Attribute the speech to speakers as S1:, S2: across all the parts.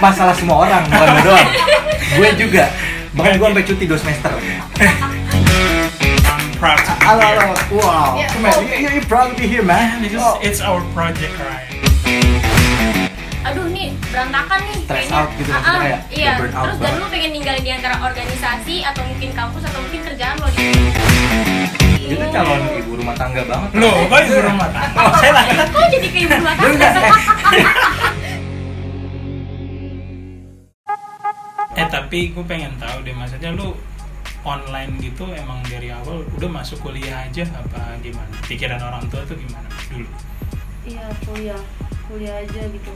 S1: masalah semua orang bukan lu doang gue juga bahkan gue sampai cuti 2 semester
S2: I'm proud to be
S1: halo halo
S2: here.
S1: wow
S3: Yeah,
S1: come on
S3: okay.
S1: you, you proud to be here man
S2: Eh, This is-
S1: Oh,
S2: It's our project, Ryan.
S3: aduh nih berantakan nih
S1: Stress
S3: kayaknya.
S1: out gitu
S3: Ah,
S1: maksudnya
S3: ah,
S1: kayak
S3: iya
S1: burn out
S3: terus dan
S1: banget.
S3: lu pengen ninggalin di antara organisasi atau mungkin kampus atau mungkin kerjaan lo Iya.
S1: itu calon ibu rumah tangga banget
S2: Loh, kok ibu rumah tangga? Oh, saya lah.
S3: kok jadi kayak ibu rumah
S1: Lu
S3: tangga
S1: enggak, eh.
S2: Eh, tapi gue pengen tahu deh, maksudnya lu online gitu emang dari awal udah masuk kuliah aja apa gimana? Pikiran orang tua tuh gimana dulu?
S4: iya kuliah kuliah aja gitu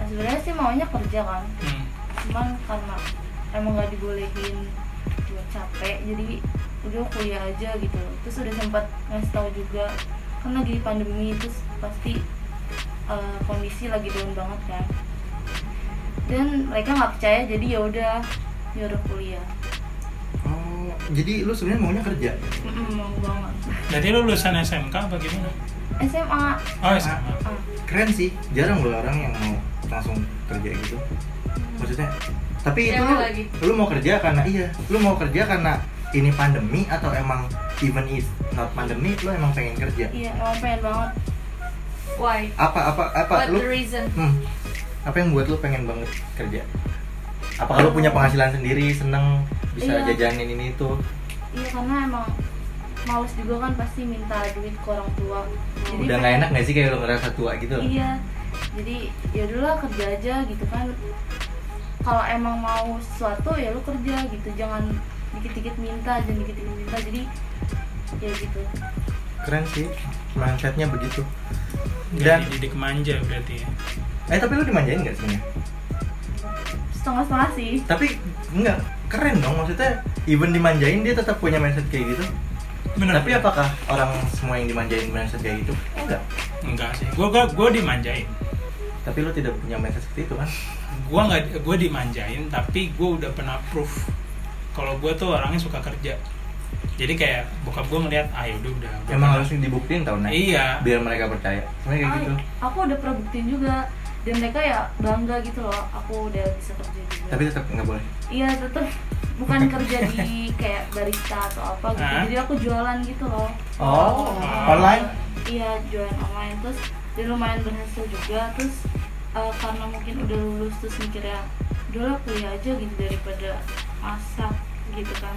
S4: nah, sebenarnya sih maunya kerja kan
S2: Hmm.
S4: cuman karena emang nggak dibolehin buat capek jadi udah kuliah aja gitu terus udah sempat ngasih tahu juga kan lagi pandemi terus pasti eh, kondisi lagi down banget kan dan mereka nggak percaya jadi ya udah nyuruh kuliah
S1: oh jadi lu sebenarnya maunya kerja
S4: Mm-mm, mau banget
S2: Jadi lu lulusan SMK apa gimana?
S4: SMA
S2: Oh, SMA.
S4: ah,
S1: keren sih jarang loh orang yang mau langsung kerja gitu maksudnya tapi itu
S3: Cewek
S1: lu,
S3: lagi.
S1: lu mau kerja karena iya lu mau kerja karena ini pandemi atau emang even if not pandemi lu emang pengen kerja
S4: iya emang pengen banget
S3: why
S1: apa apa apa
S3: what
S1: lu
S3: the reason
S1: hmm, apa yang buat lu pengen banget kerja apa lu punya penghasilan sendiri seneng bisa
S4: Iya.
S1: jajanin ini itu
S4: iya karena emang males juga kan pasti minta duit ke orang tua jadi kan
S1: udah nggak enak nggak sih kayak lu ngerasa tua gitu
S4: iya jadi ya dulu lah kerja aja gitu kan kalau emang mau sesuatu ya lu kerja gitu jangan dikit-dikit minta jangan dikit-dikit minta jadi ya gitu
S1: keren sih mindsetnya begitu
S2: Jadi
S1: dan
S2: didik manja berarti ya.
S1: eh tapi lu dimanjain nggak sebenarnya
S4: setengah-setengah sih
S1: tapi nggak keren dong maksudnya even dimanjain dia tetap punya mindset kayak gitu
S2: Bener.
S1: tapi apakah orang semua yang dimanjain mindset kayak gitu enggak
S2: Enggak sih. Gue gua, gua dimanjain.
S1: tapi lu tidak punya mindset seperti itu kan
S2: Gue nggak gue dimanjain, tapi gue udah pernah proof kalau gue tuh orangnya suka kerja. Jadi kayak bokap gue ngeliat, ah yaudah udah. gua
S1: emang
S2: pernah."
S1: harus dibuktiin tau nah
S2: Iya.
S1: biar mereka percaya sebenarnya kayak
S4: Ah,
S1: gitu
S4: aku udah pernah buktiin juga dan mereka ya bangga gitu loh aku udah bisa kerja juga
S1: tapi tetap nggak boleh
S4: iya tetep bukan kerja di kayak barista atau apa gitu
S2: Hah?
S4: jadi aku jualan gitu loh
S1: Oh, online?
S4: iya jualan online terus dia lumayan berhasil juga terus eh, karena mungkin udah lulus terus mikirnya udah lah kuliah aja gitu daripada masak gitu kan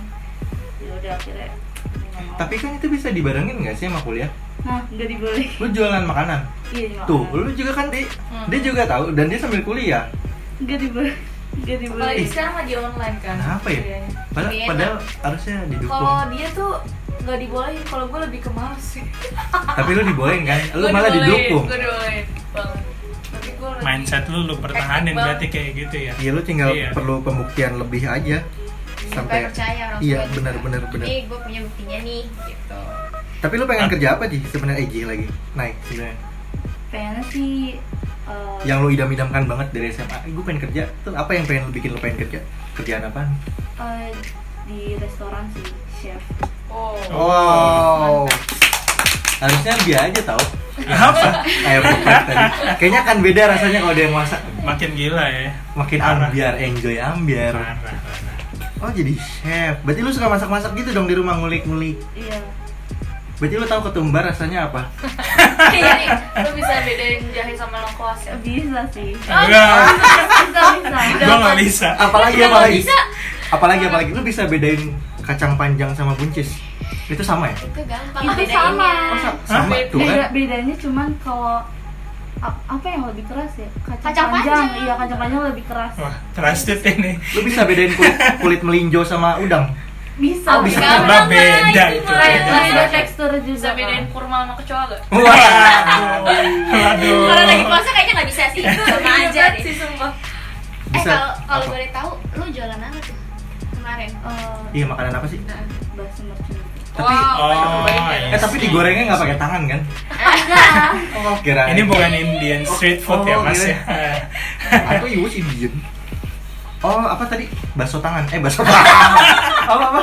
S4: ya udah akhirnya nggak mau.
S1: tapi kan itu bisa dibarengin nggak sih sama kuliah
S4: nah nggak dibolehin
S1: lu jualan makanan
S4: iya nggak
S3: Oh.
S1: tuh
S4: mau.
S1: lu juga kan di
S3: Hmm.
S1: dia juga tahu dan dia sambil kuliah
S4: nggak dibolehin nggak
S3: apalagi
S4: dibolehin
S3: sekarang lagi online kan
S1: kenapa ya
S3: kuliahnya. Iya. Oh.
S1: padahal,
S3: Lebih enak.
S1: padahal harusnya didukung
S3: kalau dia tuh nggak dibolehin kalau gue lebih ke males sih
S1: tapi lu dibolehin kan lu
S3: Gua
S1: malah
S3: dibolehin,
S1: didukung
S3: gua dibolehin banget tapi gue
S2: mindset lu lu pertahanin
S3: Hektik banget.
S2: berarti kayak gitu ya.
S1: Iya lu tinggal
S2: Iya.
S1: perlu pembuktian lebih aja
S3: sampai
S1: sampai
S3: percaya orang
S1: Iya,
S3: tua juga.
S1: benar, benar, benar.
S3: ini gue punya buktinya nih gitu
S1: Tapi lu pengen
S2: Ah.
S1: kerja apa sih sebenarnya Egy lagi? Naik sebenarnya.
S3: Iya.
S4: pengennya sih eh,
S1: Yang lu idam-idamkan banget dari SMA. Gue pengen kerja. Terus apa yang pengen lu bikin lu pengen kerja? Kerjaan apa?
S4: eh, di restoran sih chef
S3: oh,
S2: Oh.
S1: Wow. Harusnya dia aja tau
S2: Apa?
S1: Kayak bukan tadi. Kayaknya akan beda rasanya kalau dia yang masak.
S2: Makin gila ya.
S1: Makin
S2: Parah.
S1: ambiar, enjoy ambiar.
S2: Parah, parah.
S3: Ah.
S1: Oh jadi chef. Berarti lu suka masak-masak gitu dong di rumah ngulik-ngulik.
S4: iya
S1: Berarti lu tahu ketumbar rasanya apa?
S3: jadi Iya, lu bisa bedain jahe sama lengkuas ya
S4: bisa sih
S2: Enggak,
S4: bisa bisa
S2: gua nggak bisa.
S1: Apalagi
S3: Lu
S1: apalagi.
S3: bisa
S1: Apalagi apalagi lu bisa bedain kacang panjang sama buncis. Itu sama ya?
S3: itu gampang Gitu,
S4: Itu
S3: bedainnya
S4: sama.
S1: Masa
S2: Hah?
S1: sama
S3: Beda.
S1: tuh
S4: Beda,
S1: kan?
S4: bedanya cuman kalau ap- apa yang lebih keras ya kacang,
S3: Kacang
S4: panjang.
S3: panjang.
S4: iya kacang panjang lebih keras
S1: Oh.
S2: Wah, trusted ini.
S1: Lu bisa bedain kulit, kulit melinjo sama udang.
S4: bisa
S1: Oh, bisa.
S3: Gampang
S2: Tambah
S3: lah,
S2: beda
S3: itu
S2: itu.
S3: mah.
S4: Lain- lain ada
S3: Bisa-
S4: tekstur juga kan.
S3: bisa bedain kurma sama kecoa gak?
S2: Waduh.
S3: Kalau lagi puasa kayaknya nggak bisa sih, itu sama aja deh.
S4: sih sumpah
S3: Eh
S1: Bisa.
S3: kalau kalau
S1: apa?
S3: boleh tahu, lu jualan apa tuh kemarin?
S1: Iya makanan apa sih?
S4: Eh, bahasa mercun
S1: Tapi
S3: iya,
S2: Oh,
S1: eh tapi digorengnya nggak pakai tangan kan? Oh, kira
S2: Ini bukan Indian street food ya,
S1: Oh,
S2: Mas
S1: iya.
S2: ya.
S1: Aku ibu sih diem. Oh, apa tadi? Bakso tangan. Eh, bakso tangan. apa apa?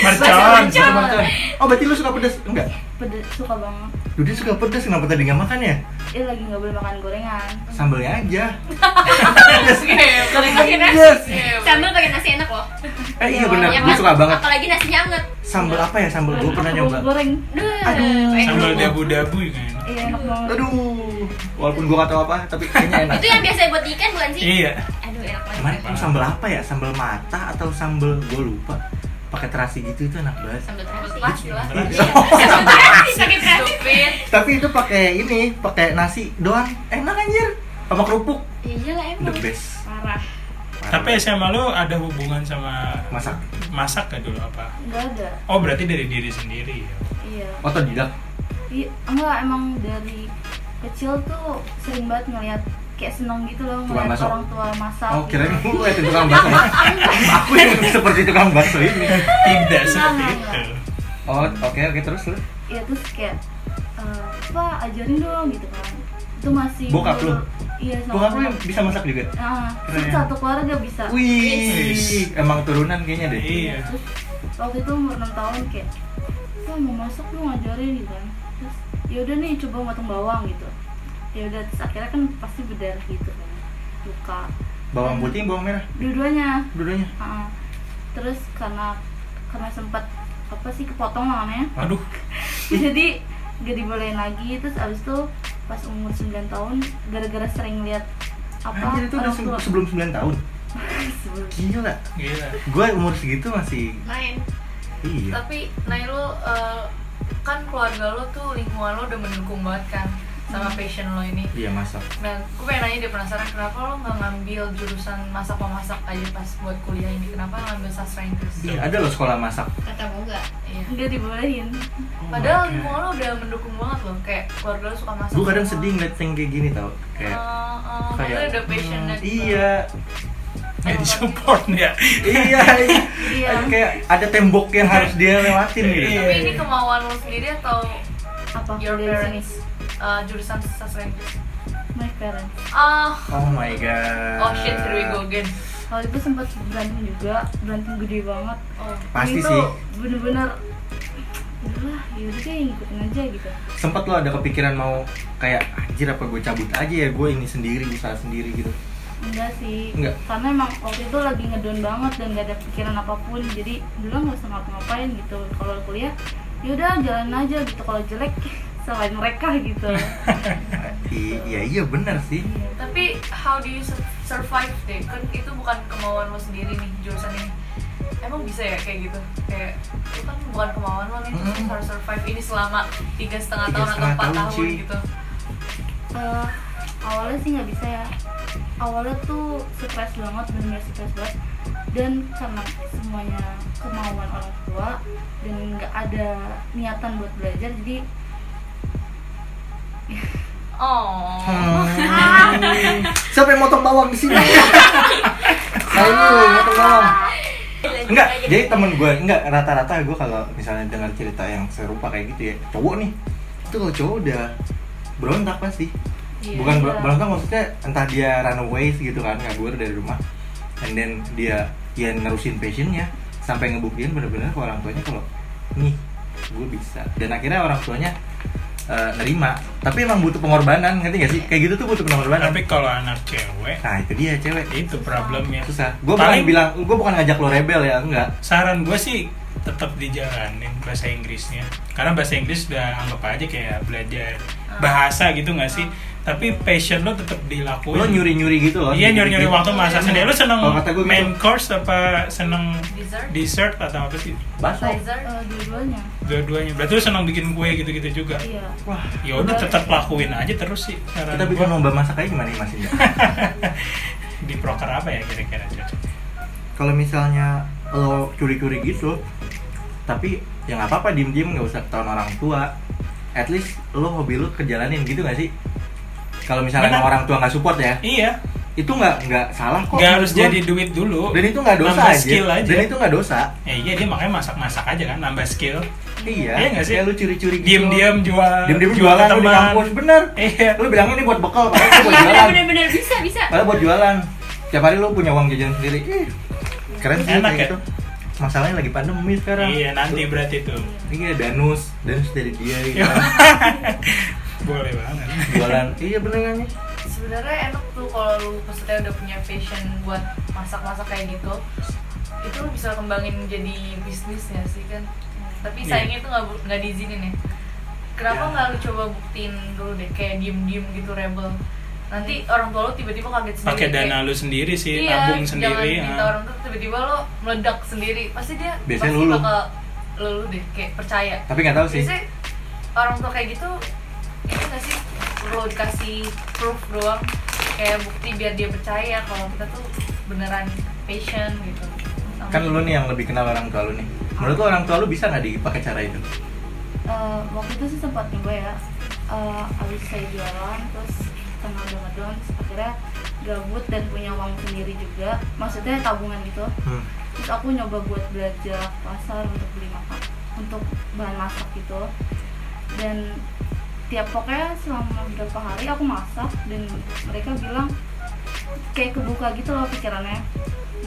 S2: Mercon.
S1: Bakso mercon. Oh, berarti lu suka pedas? Enggak.
S4: pedes suka banget
S1: Lu dia suka pedas kenapa tadi nggak makan ya?
S4: eh lagi nggak boleh makan gorengan
S1: Sambalnya aja.
S3: Paling
S5: ya?
S3: pakai nasi.
S1: Yes.
S3: Iya,
S5: Sambal pakai nasi enak loh.
S1: Eh, iya benar.
S5: Yang
S1: Gue suka banget.
S5: Apalagi nasinya anget.
S1: Sambal apa ya? Sambal gue pernah
S4: Aku
S1: nyoba.
S4: goreng
S5: Duh.
S1: Aduh.
S5: eh.
S2: Sambal dabu-dabu ya. juga enak.
S4: iya enak banget
S1: Aduh, walaupun gue nggak tahu apa, tapi kayaknya enak.
S5: Itu yang biasa buat ikan bukan sih?
S2: Iya.
S5: Aduh enak
S1: Kemarin tuh
S5: banget.
S1: sambal apa ya? Sambal mata atau sambal gue lupa. Pakai terasi gitu itu enak banget.
S5: Sambal terasi.
S3: Jelas, jelas.
S5: Sambal terasi pakai terasi.
S3: Stupid.
S1: Tapi itu pakai ini, pakai nasi doang. Enak anjir. Sama kerupuk.
S5: Iya lah
S1: The
S5: emang.
S1: best.
S5: Parah.
S2: Tapi SMA lu ada hubungan sama
S1: masak
S2: masak gak dulu apa?
S4: nggak ada
S2: Oh berarti dari diri sendiri ya?
S4: iya
S1: otodidak.
S4: Iya, enggak emang dari kecil tuh sering banget ngeliat kayak seneng gitu loh
S1: Tukang
S4: ngeliat
S1: masak.
S4: orang tua masak.
S1: Oh,
S4: gitu.
S1: kirain gue ngeliatin tukang bakso. Aku yang seperti tukang bakso ini.
S2: Tidak seperti
S4: enggak,
S2: itu.
S1: Oh, oke oke terus lu.
S4: Iya terus kayak eh Pak ajarin dong gitu kan. Itu masih
S1: Bokap lu?
S4: Iya sama.
S1: Bokap lu yang bisa masak juga.
S4: Nah, terus
S1: Keren.
S4: satu keluarga bisa.
S1: Wih, emang turunan kayaknya deh.
S2: Iya.
S4: Terus waktu itu umur 6 tahun kayak Pak mau masak lu ngajarin gitu kan. Terus yaudah nih coba motong bawang gitu. Ya udah terus akhirnya kan pasti berdarah gitu kan. Luka
S1: Bawang putih, bawang merah,
S4: dua-duanya
S1: dua-duanya.
S4: Heeh. Ah, terus karena karena sempat apa sih kepotong lah namanya
S2: Aduh.
S4: jadi gak dibolehin lagi terus abis itu pas umur 9 tahun gara-gara sering lihat apa
S1: Anjir itu udah
S4: orang tua-
S1: se- sebelum 9 tahun.
S4: sebelum
S1: Gila.
S2: Gila.
S1: Gue umur segitu masih
S3: Main.
S1: iya.
S3: Tapi Nay lu eh, kan keluarga lu tuh lingkungan lu udah mendukung banget kan
S5: Hmm.
S3: sama passion lo ini.
S1: Iya masak.
S3: Nah, gue pengen nanya deh penasaran kenapa lo nggak ngambil jurusan masak memasak aja pas buat kuliah ini? Kenapa ngambil sastra Inggris?
S1: Iya, ada loh sekolah masak.
S5: Kata Moga.
S3: Iya.
S4: gak dibolehin
S3: Padahal lingkungan lo udah mendukung banget loh, kayak keluarga lo suka masak.
S1: Gue kadang
S3: semua.
S1: sedih ngeliat yang kayak gini tau.
S3: Eh,
S1: Kayak
S3: eh,
S1: kayak
S3: padahal udah passion
S1: hmm,
S3: dan
S1: Iya,
S2: Gak di support ya?
S1: iya, iya.
S4: Iya.
S1: Kayak ada tembok
S3: Iya.
S1: yang harus dia lewatin gitu.
S2: Iya.
S3: Tapi ini kemauan lo sendiri atau
S4: apa
S3: your
S4: dari sini
S3: parents eh, jurusan sastra Inggris?
S4: my parents
S3: Ah,
S1: Oh my god.
S3: oh shit, here we go again.
S4: kalau itu sempat berantem juga berantem gede banget
S3: Oh.
S1: Pasti
S4: itu
S1: sih.
S4: bener-bener udahlah yaudah deh ngikutin aja gitu
S1: Sempet lo ada kepikiran mau kayak anjir apa gue cabut aja ya gue ini sendiri usaha sendiri gitu.
S4: Enggak sih,
S1: Enggak.
S4: karena emang waktu itu lagi ngedown banget dan gak ada pikiran apapun Jadi dulu nggak usah ngapa-ngapain gitu Kalau kuliah, yaudah jalan aja gitu Kalau jelek, selain mereka gitu
S1: Iya. I- Iya iya benar sih.
S3: Tapi how do you sur- survive deh? Kan itu bukan kemauan lo sendiri nih jurusan ini. Emang bisa ya kayak gitu? Kayak itu kan bukan kemauan lo nih, terus
S1: Mm.
S3: harus survive ini selama tiga setengah
S1: Tiga
S3: tahun atau
S1: setengah
S3: empat
S1: tahun,
S3: tahun,
S1: cuy.
S3: gitu.
S4: Eh, Awalnya sih nggak bisa ya Awalnya tuh stres banget, bener stres banget Dan karena semuanya kemauan orang tua Dan nggak ada niatan buat belajar Jadi
S3: Oh,
S1: Hmm. Siapa yang motong bawang di sini? Saya lu motong bawang. Enggak, jadi temen gue enggak rata-rata gue kalau misalnya dengar cerita yang serupa kayak gitu ya cowok nih itu kalau cowok udah berontak pasti bukan ber-
S4: Iya.
S1: berontak maksudnya entah dia runaway gitu kan kabur dari rumah and then dia ya nerusin passionnya sampai ngebuktiin bener-bener ke orang tuanya kalau nih gue bisa dan akhirnya orang tuanya eh, nerima tapi emang butuh pengorbanan ngerti gak sih kayak gitu tuh butuh pengorbanan
S2: Tapi kalau anak cewek
S1: nah itu dia cewek
S2: itu problemnya.
S1: susah gue bukan
S2: Paling-
S1: bilang gue bukan ngajak lo rebel ya enggak
S2: Saran gue sih tetap dijalanin bahasa Inggrisnya. Karena bahasa Inggris udah anggap aja kayak belajar bahasa gitu nggak sih? Tapi passion lo tetap dilakuin.
S1: lo nyuri nyuri gitu loh
S2: Iya nyuri-nyuri waktu masak sendiri. Lo seneng
S1: Kalau kata gua gitu.
S2: main course apa seneng
S3: Dessert?
S2: dessert atau apa sih?
S1: baso
S3: Pfizer.
S4: eh, dua-duanya
S2: Dua-duanya. Berarti lo seneng bikin kue gitu-gitu juga.
S4: Iya
S1: wah
S2: Ya udah tetap lakuin aja terus sih. Saran
S1: kita bikin
S2: gua.
S1: lomba masak aja gimana nih mas Indra
S2: di proker apa ya kira-kira cocok?
S1: kalau misalnya lo curi-curi gitu tapi ya nggak apa-apa diem-diem nggak usah ketahuan orang tua at least lo hobi lo kejalanin gitu nggak sih kalau misalnya
S2: Benar.
S1: emang orang tua nggak support ya
S2: Iya,
S1: itu nggak nggak salah kok
S2: nggak harus
S1: menurut gua.
S2: jadi duit dulu.
S1: dan itu nggak dosa
S2: nambah
S1: aja.
S2: skill aja.
S1: dan itu nggak dosa
S2: Ya iya dia makanya masak-masak aja kan, nambah skill.
S1: iya
S2: Iya nggak sih?
S1: kayak lo curi-curi gitu
S2: Diam-diam jual,
S1: diem-diem jualan
S2: ke
S1: lo di
S2: teman.
S1: kampus bener
S2: Iya.
S1: lo bilangin ini buat bekal padahal buat
S5: Iya
S1: jualan
S5: bener-bener bisa bisa.
S1: padahal buat jualan tiap hari lu punya uang jajan sendiri Ih, keren sih
S2: Enak
S1: kayak
S2: ya?
S1: gitu masalahnya lagi pandemi sekarang
S2: Iya nanti
S1: Tuh.
S2: berarti tuh
S1: iya danus danus dari dia gitu
S2: Iya. boleh banget.
S1: jualan iya bener kan
S3: sebenarnya enak tuh kalau lu maksudnya udah punya passion buat masak-masak kayak gitu itu lu bisa kembangin jadi bisnisnya sih kan tapi
S2: Iya.
S3: sayangnya itu nggak bu- nggak diizinin ya kenapa
S2: Ya.
S3: nggak lu coba buktiin dulu deh kayak diem-diem gitu rebel nanti orang tua lu tiba-tiba kaget sendiri
S2: Pakai
S3: kayak,
S2: dana lu sendiri sih,
S3: iya,
S2: tabung sendiri.
S3: jangan minta
S2: ah.
S3: orang tuh tiba-tiba lo meledak sendiri pasti dia
S1: Biasanya
S3: pasti
S1: lulu.
S3: bakal lulu deh kayak percaya
S1: tapi nggak tahu sih
S3: biasanya orang tua kayak gitu itu nggak sih perlu dikasih proof doang kayak bukti biar dia percaya kalau kita tuh beneran passion gitu Sama-
S1: kan lu nih yang lebih kenal orang tua lu nih menurut lu orang tua lu bisa nggak dipakai cara itu
S4: Eh, waktu itu sih sempat nyoba ya Eh, abis saya jualan terus kenal banget doang terus akhirnya gabut dan punya uang sendiri juga maksudnya tabungan gitu
S1: hmm.
S4: terus aku nyoba buat belanja ke pasar untuk beli makan untuk bahan masak gitu dan tiap pokoknya selama beberapa hari aku masak dan mereka bilang kayak kebuka gitu loh pikirannya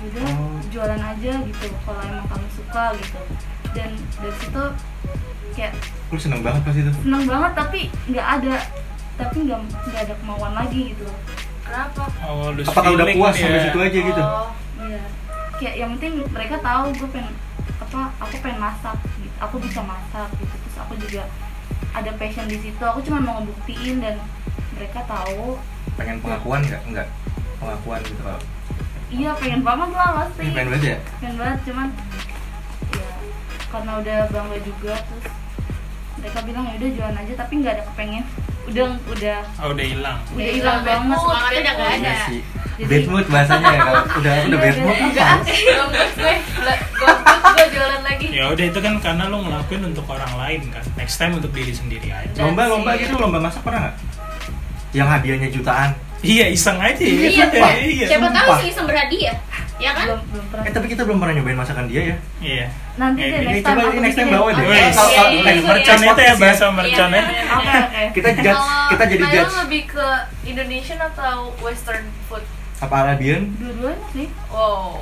S4: udah
S1: Oh.
S4: jualan aja gitu kalau emang kamu suka gitu dan dari situ kayak
S1: lu seneng banget pas itu
S4: senang banget tapi nggak ada tapi nggak nggak ada kemauan lagi gitu
S3: kenapa
S2: Oh, lu
S1: apakah udah
S2: feeling
S1: puas
S2: ya.
S1: sampai situ aja gitu
S3: Oh,
S4: Iya. Kayak yang penting mereka tahu gue pengen apa aku pengen masak gitu. Aku bisa masak gitu. Terus aku juga ada passion di situ. Aku cuma mau ngebuktiin dan mereka tahu
S1: pengen pengakuan nggak nggak pengakuan gitu kalau
S4: iya pengen banget lah pasti.
S1: Ih, pengen banget ya
S4: Pengen banget cuman ya karena udah bangga juga terus mereka bilang ya udah jualan aja tapi nggak ada kepengen udah udah
S2: Oh, udah hilang.
S4: udah hilang banget
S5: semangatnya Iya, udah nggak ada.
S1: Iya sih.
S4: Jadi-
S1: Bad mood bahasanya ya kalau udah udah
S4: Iya,
S1: bad mood
S4: iya.
S1: apa?
S3: belum gue gue jualan lagi
S2: Ya udah itu kan karena lu ngelakuin untuk orang lain kan. Next time untuk diri sendiri aja.
S1: Lomba lomba
S3: Iya.
S1: gitu lomba masak pernah nggak? Yang hadiahnya jutaan.
S2: Iya, iseng aja.
S1: Iya,
S5: Iya,
S1: sumpah.
S2: iya.
S5: Siapa tahu
S1: sumpah.
S5: sih iseng berhadiah. Ya
S4: Iya,
S5: kan?
S4: belum belum pernah.
S1: Eh tapi kita belum pernah nyobain masakan dia ya.
S2: Iya.
S4: Nanti
S2: Eh,
S4: deh
S2: ini
S1: Eh,
S4: next time.
S1: coba
S4: aku
S1: next time
S4: bikin.
S1: bawa deh.
S2: Wih.
S1: Kalau- kalau-
S5: Iya,
S1: kalau-
S5: iya, iya.
S1: merchant
S2: Mercon itu ya
S1: podcast
S2: bahasa
S5: Iya,
S2: mercon ya.
S5: bener.
S4: Oke oke.
S1: Kita judge,
S3: Kalau
S1: kita jadi
S3: Naila
S1: judge.
S3: lebih ke Indonesian atau Western food
S1: Apa Arabian?
S4: Dua-duanya sih.
S3: wow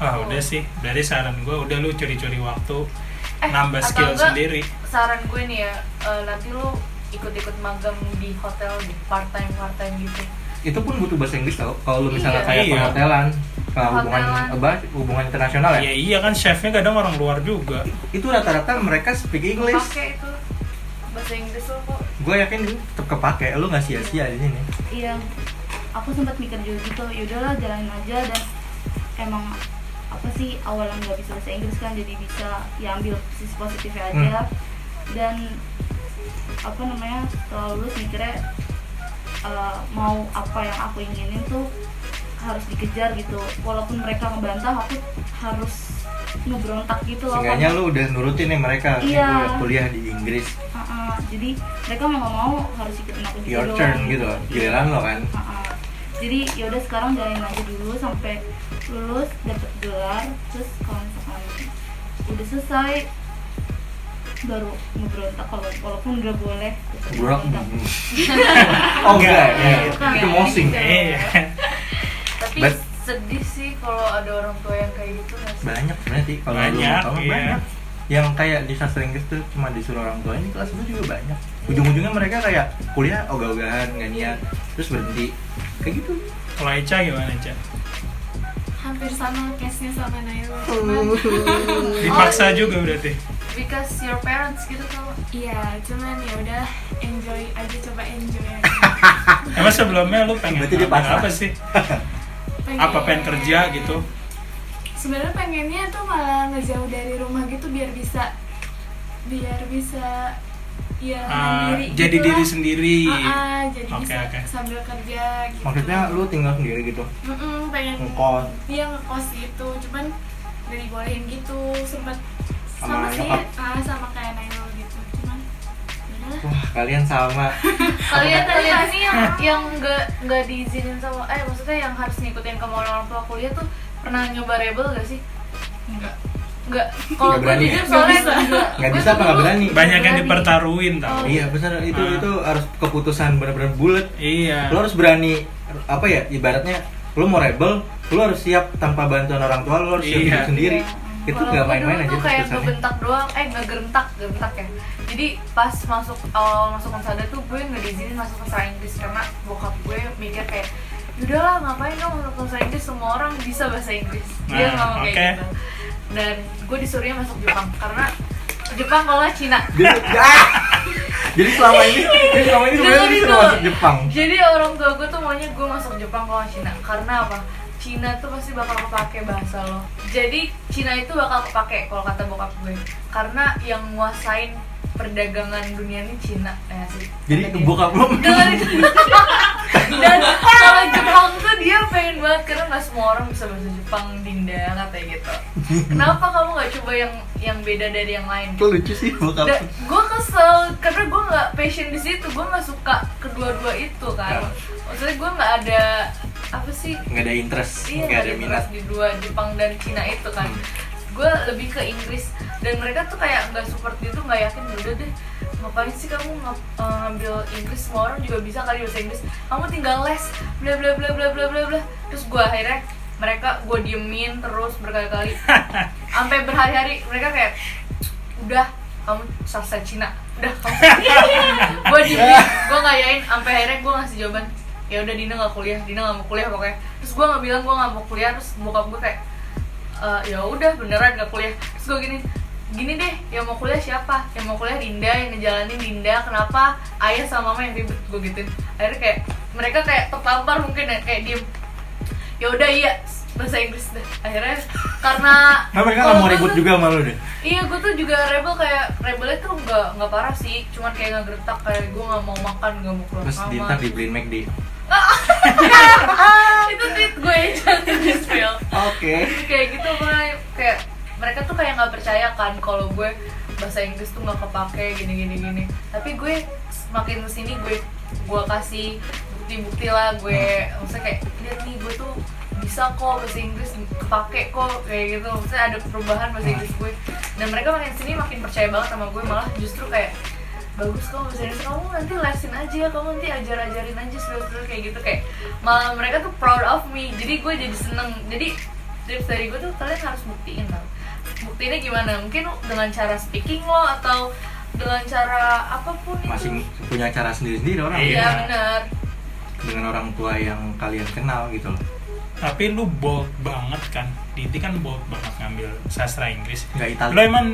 S2: Ah, udah sih. Dari saran gue udah lu curi-curi waktu
S3: Eh,
S2: nambah
S3: atau
S2: skill
S3: enggak,
S2: sendiri.
S3: saran gue nih ya eh, nanti lu ikut-ikut magang di hotel di part time part time gitu
S1: Itu pun butuh bahasa Inggris tau. Kalau lu misalnya
S3: Iya.
S1: kayak
S2: Iya.
S1: perhotelan, kalau hubungan
S3: Perhotelan.
S1: apa hubungan internasional
S2: Iya,
S1: ya.
S2: iya kan chefnya kadang orang luar juga.
S1: Itu rata-rata mereka speak English.
S3: pakai itu bahasa Inggris lo kok
S1: Gue yakin itu tetap kepake. Lu nggak sia-sia di sini.
S4: iya aku sempat mikir juga gitu yaudahlah jalanin aja dan emang apa sih awalnya nggak bisa bahasa Inggris kan jadi bisa ya ambil sisi positifnya aja
S1: Hmm.
S4: dan apa namanya setelah lulus mikirnya eh, mau apa yang aku inginin tuh harus dikejar gitu walaupun mereka ngebantah aku harus ngebrontak gitu loh
S1: Seenggaknya
S4: Karena-
S1: lu udah nurutin nih mereka. Nih,
S4: Iya.
S1: gua kuliah di Inggris.
S4: Ah, ah. jadi mereka mau nggak mau harus ikutin aku juga
S1: Your
S4: Iya, doang. Iya.
S1: turn gitu. loh. Giliran lo kan.
S4: Heeh. jadi yaudah sekarang jalanin aja dulu sampai lulus dapet gelar terus kalau misalkan udah selesai baru ngeberontak kalau walaupun nggak boleh tetap
S1: Burak.
S4: ngeberontak.
S1: oh enggak. ya.
S4: Bukan.
S1: Itu mosing.
S2: Iya.
S3: tapi
S1: But-
S3: sedih sih kalau ada orang tua yang kayak gitu nggak sih?
S1: banyak sebenarnya sih kalau lu
S2: Banyak,
S1: mau tahu
S2: iya.
S1: banyak yang kayak di sastra Inggris tuh cuma disuruh orang tua ini kelas itu juga banyak ujung-ujungnya mereka kayak kuliah ogah-ogahan nggak niat terus berhenti kayak gitu
S2: Kalau Eca gimana, Eca?
S5: Hampir sama case-nya sama Naila.
S1: Hmm.
S2: Dipaksa juga berarti.
S3: because your parents gitu tuh
S6: Iya, cuman ya udah enjoy aja coba enjoy aja.
S2: Emang sebelumnya lu pengen
S1: Berarti dia
S2: ngambil
S1: pasrah.
S2: apa sih? Apa pengen kerja gitu?
S6: Sebenarnya pengennya tuh malah ngejauh dari rumah gitu biar bisa biar bisa ya
S2: Ah,
S6: mandiri
S2: jadi
S6: gitu
S2: diri
S6: lah.
S2: sendiri.
S6: Ah, ah, jadi
S2: Oke,
S6: bisa
S2: oke.
S6: sambil kerja gitu.
S1: maksudnya lu tinggal sendiri gitu
S6: Mm-mm, pengen
S1: ngekos
S6: dia ngekos gitu, cuman gak dibolehin gitu sempet
S1: Sama
S6: sama, sih
S1: nyokap.
S6: ah, sama kayak Nail gitu, cuman ya udah lah. ya.
S1: wah kalian sama
S3: kalian kalian ini yang yang nggak nggak diizinin sama eh maksudnya yang harus ngikutin kemauan orang tua kuliah tuh pernah nyoba rebel gak sih nggak kalau
S1: Nggak
S3: gue
S1: berani
S3: jujur
S1: ya?
S3: soalnya juga
S1: nggak
S3: gue
S1: bisa apa
S3: tuh
S1: nggak
S3: dulu-
S1: berani
S2: Banyak yang
S3: Berani.
S2: dipertaruhin tau.
S1: iya benar itu
S2: Ah.
S3: Oh.
S1: itu harus keputusan benar-benar bulat
S2: Iya.
S1: lu harus berani apa ya ibaratnya lu mau rebel lu harus siap tanpa bantuan orang tua lu harus siap
S2: Iya.
S1: hidup sendiri itu nggak main-main aja
S3: tuh kayak
S1: keputusannya
S3: ngebentak doang, eh ngegerentak, gerentak ya Jadi pas masuk awal masuk Konsada tuh gue nggak diizinin masuk ke sastra Inggris Karena bokap gue mikir kayak Yaudahlah ngapain dong masuk ke sastra Inggris, semua orang bisa bahasa Inggris Dia
S2: Nah,
S3: ngomong
S2: oke.
S3: kayak gitu Dan gue disuruhnya masuk Jepang, karena Jepang kalau nggak Cina
S1: jadi, ah! jadi selama ini jadi selama ini sebenarnya lu
S3: Dengerin dulu.
S1: disuruh masuk Jepang
S3: Jadi orang tua gue tuh maunya gue masuk Jepang kalau nggak Cina Karena apa? Cina tuh pasti bakal kepake bahasa lo Jadi Cina itu bakal kepake kalau kata bokap gue Karena yang nguasain perdagangan dunia ini Cina ya sih
S1: jadi bokap lu
S3: Dengerin Dan kalau Jepang tuh dia pengen banget Karena nggak semua orang bisa bahasa Jepang Dinda katanya gitu Kenapa kamu nggak coba yang yang beda dari yang lain?
S1: itu lucu sih bokap
S3: Da- gue kesel karena gue nggak passion di situ gue nggak suka kedua-dua itu
S1: Ya.
S3: kan maksudnya gue nggak ada apa sih
S1: nggak ada interest
S3: iya
S1: nggak ada
S3: nggak
S1: minat Hmm.
S3: di dua Jepang dan Cina itu kan gue lebih ke Inggris dan mereka tuh kayak nggak support gitu nggak yakin udah deh ngapain sih kamu ng- eh, ngambil Inggris semua orang juga bisa kali bahasa Inggris kamu tinggal les bla bla bla bla bla bla bla terus gue akhirnya mereka gue diemin terus berkali-kali sampai berhari-hari mereka kayak udah kamu sastra Cina udah kamu gue diemin gue ngayain sampai akhirnya gue ngasih jawaban ya udah Dina nggak kuliah Dina nggak mau kuliah pokoknya terus gue nggak bilang gue nggak mau kuliah terus bokap gue kayak "Eh, ya udah beneran nggak kuliah terus gue gini gini deh yang mau kuliah siapa yang mau kuliah Dinda yang ngejalanin Dinda kenapa ayah sama mama yang ribet gue gituin akhirnya kayak mereka kayak tertampar mungkin ya kayak diem ya udah iya bahasa Inggris deh akhirnya karena
S1: nah mereka nggak mau
S3: kalau
S1: ribut
S3: gua tuh-
S1: juga sama lu deh
S3: Iya, gue tuh juga rebel kayak rebelnya tuh nggak nggak parah sih, cuman kayak nggak gertak kayak gue nggak mau makan, nggak mau keluar
S1: terus
S3: kamar.
S1: dintar dibeliin McD
S3: Itu tweet gue yang jangan di spill.
S1: oke
S3: Kayak gitu gue kayak mereka tuh kayak nggak percaya kan kalau gue bahasa Inggris tuh nggak kepake gini gini gini. Tapi gue semakin kesini gue gue kasih bukti-bukti lah gue maksudnya kayak lihat nih gue tuh bisa kok bahasa Inggris kepake kok kayak gitu maksudnya ada perubahan bahasa Inggris gue dan mereka makin sini makin percaya banget sama gue malah justru kayak bagus kamu bahasa Inggris kamu nanti lesin aja kamu nanti ajar ajarin aja seru-seru kayak gitu kayak malah mereka tuh proud of me jadi gue jadi seneng jadi tips dari gue tuh kalian harus buktiin tau buktiinnya gimana mungkin dengan cara speaking lo atau dengan cara apapun itu
S1: masing punya cara sendiri sendiri orang ya,
S2: Iya.
S3: iya benar
S1: dengan orang tua yang kalian kenal gitu loh
S2: tapi lu bold banget kan Didi kan bold banget ngambil sastra Inggris
S1: nggak Itali
S2: lo emang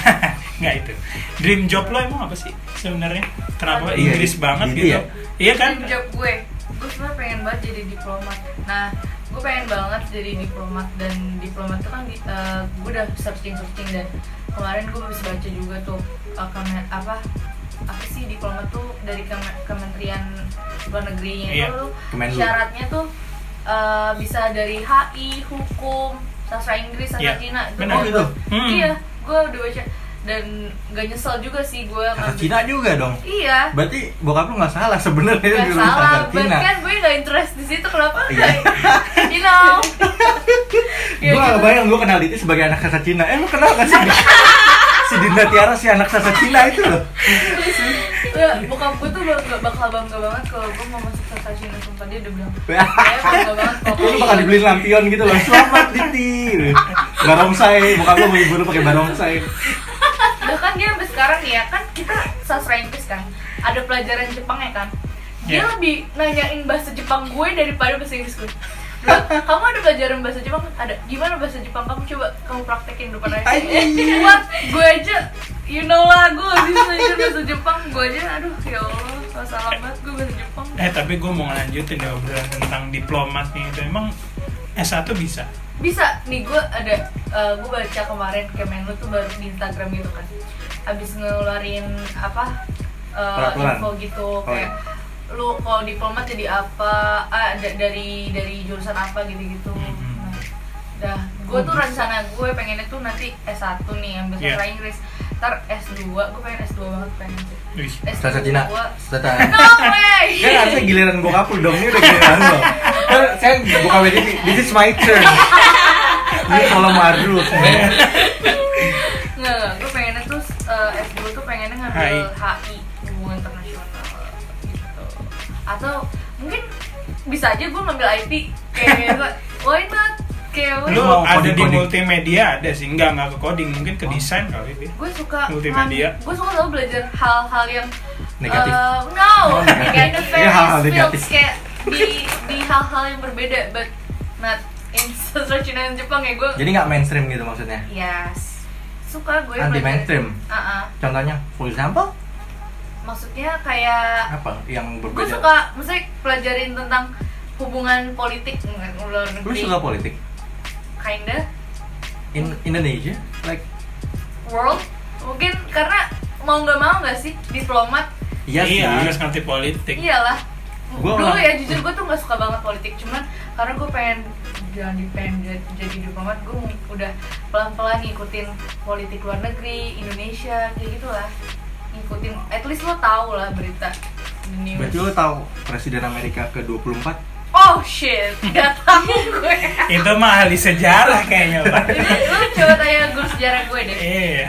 S2: nggak itu dream job lo emang apa sih sebenarnya kenapa
S1: Iya,
S2: Inggris
S1: Didi
S2: banget
S1: ya?
S2: gitu iya kan
S3: Dream job gue gue sebenarnya pengen banget jadi diplomat nah gue pengen banget jadi diplomat dan diplomat tuh kan di- eh, gue udah searching searching dan kemarin gue habis baca juga tuh eh, kemen- apa apa sih diplomat tuh dari Kemen- kementerian luar negerinya
S2: Iya,
S3: tuh
S1: Kemenlu.
S3: syaratnya tuh eh, bisa dari HI hukum sastra Inggris
S2: Iya,
S3: sastra Cina Itu
S2: benar.
S1: oh
S3: gue-
S1: gitu
S2: Hmm.
S3: iya gue udah baca dan gak nyesel juga sih gue
S1: kata
S3: ngambil-
S1: Cina juga dong
S3: iya
S1: berarti bokap lu nggak salah sebenarnya
S3: Gak
S1: jurusan
S3: salah,
S1: kata
S3: but
S1: Cina
S3: kan gue gak interest di situ kenapa
S1: Iya.
S3: enggak? you know Ya
S1: gue gak
S3: gitu.
S1: bayang gue kenal Diti sebagai anak sastra Cina eh lu kenal gak sih si Dinda Tiara si anak sastra Cina itu loh
S3: Ya, bokap gue tuh bak- gak bakal bangga banget kalau gue mau masuk ke Cina sumpah dia udah bilang Saya bangga banget kalau
S1: lu bakal dibeliin lampion gitu loh selamat Diti barongsai bukan lu mau ibu lu pakai barongsai
S3: Eh, Bahkan dia sampai sekarang nih ya, kan kita sastra Inggris kan Ada pelajaran Jepang ya kan Dia
S2: Iya.
S3: lebih nanyain bahasa Jepang gue daripada bahasa Inggris gue Bilang, kamu ada pelajaran bahasa Jepang? Ada. Gimana bahasa Jepang? Kamu coba kamu praktekin depan ayah.
S1: Anjing.
S3: Buat gue aja, you know lah, gue gak bisa aja bahasa Jepang. Gue aja, aduh ya Allah, salah banget gue bahasa Jepang.
S2: eh tapi gue mau lanjutin ya obrolan tentang diplomat nih itu emang S1 bisa
S3: bisa nih gue ada eh, gue baca kemarin Kemenlu tuh baru di Instagram gitu kan abis ngeluarin apa eh,
S1: Peraturan.
S3: info gitu
S1: Oh,
S3: kayak lu kalau diplomat jadi apa ah, da- dari dari jurusan apa gitu gitu
S2: Mhm.
S1: Hmm.
S3: nah, dah gue
S1: Oh, gitu.
S3: tuh rencana gue pengennya tuh nanti S1 nih ambil
S2: Iya.
S3: sastra Inggris ntar S2 gue pengen S2 banget pengen sih.
S2: Wih.
S3: S2
S1: sastra Cina
S3: gua-
S1: sastra
S3: no way
S1: kan harusnya giliran bokap lu dong ini udah giliran lo kan saya bokap lu Diti this is my turn ini kalau mardu sebenarnya
S3: Nggak, nggak. gue pengennya tuh eh, S2 tuh pengennya ngambil HI, hubungan internasional gitu. Atau mungkin bisa bisa aja gue ngambil IP kayak gua, why not kayak
S2: Lu
S1: Mau
S2: ada di
S1: coding-coding.
S2: multimedia ada sih, enggak enggak ke coding, mungkin
S1: Oh.
S2: ke desain kali Bi.
S3: gue suka
S2: Multimedia.
S3: gue suka tau belajar hal-hal yang
S1: Negatif.
S3: uh, no
S1: Oh, negatif.
S3: kayak the
S1: Ini
S3: various
S1: hal-hal negatif.
S3: fields kayak di di hal-hal yang berbeda but not in sastra Cina dan Jepang ya gue
S1: Jadi nggak mainstream gitu maksudnya.
S3: yes suka gue
S1: Anti
S3: belajar.
S1: mainstream.
S3: Ah, ah.
S1: Contohnya, for example,
S3: maksudnya kayak
S1: apa yang
S3: gue
S1: berbeda?
S3: suka maksudnya pelajarin tentang hubungan politik dengan luar
S1: Lu
S3: negeri
S1: suka politik?
S3: kinda
S1: In Indonesia, like
S3: world mungkin karena mau nggak mau nggak sih diplomat
S1: yes, sih.
S2: iya, harus ngerti politik.
S3: iyalah
S1: Gua
S3: dulu
S1: orang-
S3: ya jujur gue tuh nggak suka banget politik cuman karena gue pengen jadi pengen jadi, jadi diplomat gue udah pelan pelan ngikutin politik luar negeri Indonesia kayak gitulah ngikutin at least lo tau lah berita the news
S1: Berarti lu tahu Presiden Amerika ke-24
S3: oh shit gak tau gue
S2: Itu mah ahli sejarah kayaknya, Pak.
S3: Ini lo coba tanya guru sejarah gue deh
S2: Iya.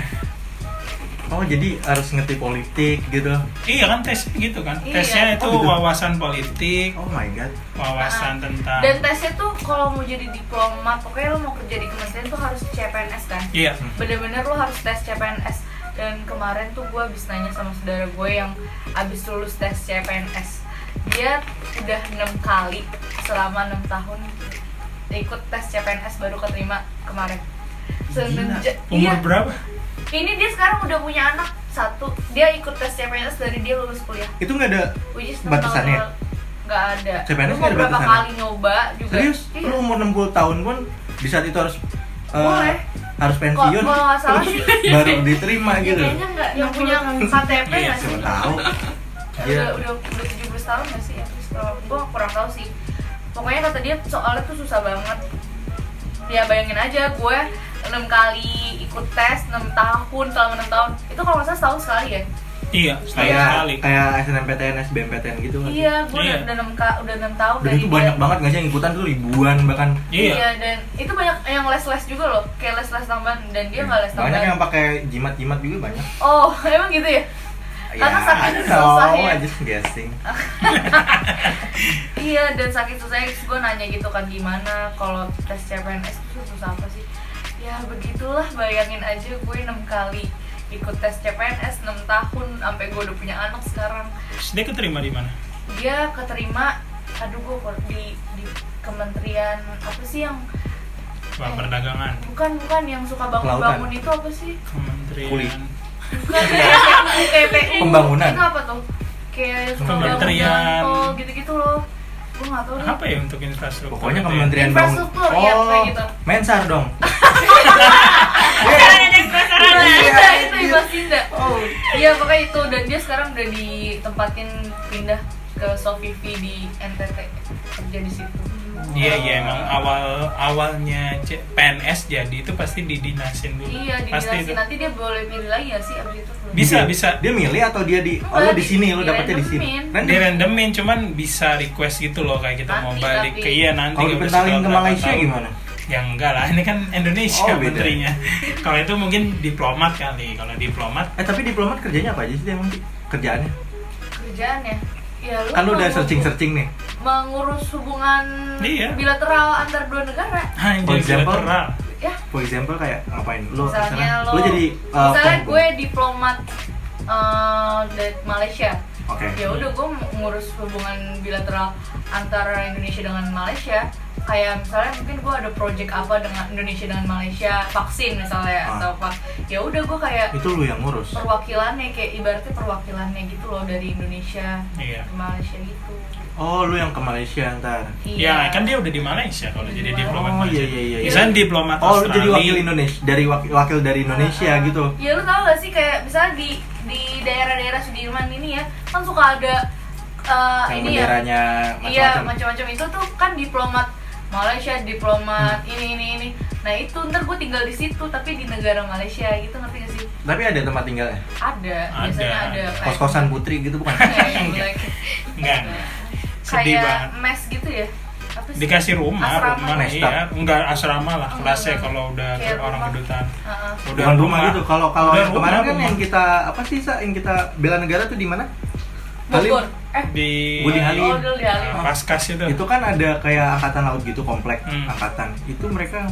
S1: Oh jadi harus ngerti politik gitu
S2: Iya kan tesnya gitu kan.
S3: Iya.
S2: Tesnya itu
S1: Oh, gitu.
S2: wawasan politik,
S1: Oh my god
S2: wawasan tentang
S3: Ah. dan tesnya tuh kalau mau jadi diplomat pokoknya lo mau kerja di kementerian tuh harus CPNS kan
S2: Iya.
S3: bener-bener lo harus tes CPNS dan kemarin tuh gue abis nanya sama saudara gue yang abis lulus tes CPNS dia udah enam kali selama enam tahun ikut tes CPNS baru keterima kemarin semenjak
S2: Umur
S3: iya.
S2: berapa?
S3: ini dia sekarang udah punya anak satu dia ikut tes CPNS dari dia lulus kuliah
S1: Itu nggak ada
S3: which is
S1: Batasannya?
S3: nggak ada
S1: CPNS
S3: Lu
S1: nggak
S3: mau
S1: ada
S3: berapa
S1: batasannya?
S3: kali nyoba juga
S1: Serius?
S3: Iya.
S1: Lu umur 60 tahun pun di saat itu harus eh,
S3: Boleh.
S1: harus pensiun
S3: kalau nggak salah
S1: terus baru diterima
S4: Ya,
S1: gitu
S4: kayaknya nggak
S3: yang punya KTP
S2: Iya,
S3: nggak sih
S1: siapa tahu Iya.
S3: udah udah udah tujuh belas tahun nggak sih ya terus kalau gue kurang tahu sih pokoknya kata dia soalnya tuh susah banget ya bayangin aja gue enam kali ikut tes enam tahun selama enam tahun itu kalau nggak salah setahun sekali ya
S2: Iya, setahun
S1: kayak
S2: sekali.
S1: kayak SNMPTN, SBMPTN gitu nggak sih?
S3: iya gitu. gue
S2: Iya.
S3: udah udah enam ka- udah enam tahun
S1: Dan itu
S3: dia.
S1: banyak banget nggak sih yang ikutan tuh ribuan bahkan
S2: Iya.
S3: iya dan itu banyak yang les les juga loh kayak les les tambahan dan dia Iya, nggak les
S1: Banyak
S3: tambahan
S1: yang pakai jimat-jimat juga banyak
S3: oh emang gitu ya Karena saking ya.
S1: I don't know,
S3: susahnya.
S1: I just guessing
S3: Iya dan sakit susahnya terus gue nanya gitu kan gimana kalau tes CPNS itu susah apa sih? Ya begitulah bayangin aja gue enam kali ikut tes CPNS 6 tahun sampai gue udah punya anak sekarang
S2: Terus Dia keterima di mana?
S3: dia keterima aduh gue kok di, di kementerian apa sih yang
S2: Wah,
S3: Iya.
S2: perdagangan.
S3: bukan bukan yang suka bangun-bangun itu apa sih?
S2: Kementerian.
S1: Kulit.
S3: Bukan KPU KPU
S1: Pembangunan.
S3: itu apa tuh? Kayak suka bangun
S2: Kementerian.
S3: tol gitu-gitu loh gue nggak tahu deh
S2: Apa ya untuk infrastruktur?
S1: Pokoknya
S2: itu ya?
S1: kementerian
S3: Infrastruktur,
S1: bangun.
S3: iya,
S1: oh,
S3: kayak gitu.
S1: Mensar dong. Iya.
S3: Ibasinda ya. Iya, itu Ibasinda. Oh. Iya pokoknya itu dan dia sekarang udah ditempatin pindah ke Sofivi di NTT kerja di situ.
S2: Iya iya emang awal awalnya C- PNS jadi itu pasti didinasin dulu.
S3: Iya di
S2: pasti
S3: Dinasi. nanti dia boleh milih lagi ya sih abis itu.
S2: Bisa bisa.
S1: Dia milih atau dia di oh, lo
S3: Enggak, iya,
S1: di sini lo
S3: di
S1: dapetnya di sini.
S3: randomin.
S2: Di
S1: Random.
S2: randomin cuman bisa request gitu loh kayak kita mau
S3: Nanti,
S2: balik
S3: tapi-
S2: ke iya nanti.
S1: Kalau
S2: habis
S1: dipentalin
S2: setelah
S1: ke
S2: berapa
S1: Malaysia
S2: tahun.
S1: gimana?
S2: Ya enggak lah, ini kan Indonesia
S1: Oh, beda.
S2: menterinya. Kalau itu mungkin diplomat kali. Kalau diplomat
S1: Eh tapi diplomat kerjanya apa aja sih dia emang Ki? kerjaannya?
S3: Kerjaan ya. Ya, lu
S1: Kan lo udah
S3: mengu-
S1: searching searching nih.
S3: mengurus hubungan
S2: Iya.
S3: bilateral antar dua negara
S2: hanya
S1: For example,
S2: ah, bilateral.
S3: ya
S1: For example kayak ngapain? Lo
S3: misalnya lo,
S1: lo Oh, jadi uh,
S3: misalnya
S1: pem-
S3: gue diplomat eh, dari Malaysia
S1: Oke.
S3: ya udah gue ngurus hubungan bilateral antara Indonesia dengan Malaysia kayak misalnya mungkin gue ada project apa dengan Indonesia dengan Malaysia vaksin misalnya
S1: Ah.
S3: atau apa ya udah gue kayak
S1: Itu lo yang ngurus.
S3: perwakilannya kayak ibaratnya perwakilannya gitu loh dari Indonesia
S2: Iya.
S3: ke Malaysia gitu
S1: Oh, lo yang ke Malaysia ntar.
S3: Iya.
S2: Ya kan dia udah di Malaysia kalau jadi
S3: Oh,
S2: diplomat
S1: Oh
S2: Malaysia.
S1: iya iya iya.
S2: Misalnya diplomat
S1: Oh, lo
S2: Australia.
S1: jadi wakil Indonesia dari wakil, wakil dari Indonesia
S3: Ah.
S1: gitu.
S3: ya lu tau gak sih kayak misalnya di di daerah-daerah Sudirman ini ya kan suka ada eh,
S1: Yang
S3: ini ya
S1: benderanya
S3: Iya
S1: macam-macam.
S3: macam-macam itu tuh kan diplomat Malaysia, diplomat
S2: Hmm.
S3: ini ini ini. Nah itu ntar gue tinggal di situ tapi di negara Malaysia gitu ngerti gak sih?
S1: Tapi ada tempat tinggalnya.
S3: Ada, biasanya
S2: Ada.
S3: ada. Iya. kayak-
S1: Kos-kosan putri gitu bukan?
S3: Kayak yang like-
S2: Enggak. Sedih
S3: kayak
S2: banget.
S3: mes gitu ya? Apa sih?
S2: dikasih rumah
S3: Asrama.
S2: rumah
S1: Nesta.
S2: iya enggak asrama lah
S3: Oh,
S2: kelasnya
S3: enggak.
S2: kalau udah
S3: Kayak
S2: orang
S3: rumah.
S2: kedutaan
S3: Heeh.
S2: udah
S1: Bukan rumah gitu. Kalau kalau
S2: Udah
S1: yang kemarin
S2: rumah,
S1: kan
S2: rumah.
S1: yang kita apa sih sa yang kita bela negara tuh di mana? Halim
S3: Bogor. Eh,
S2: di
S1: Budi Halim.
S3: oh dulu di Halim.
S2: Ah, Paskas itu.
S1: itu kan ada kayak angkatan laut gitu komplek
S2: Hmm.
S1: angkatan itu mereka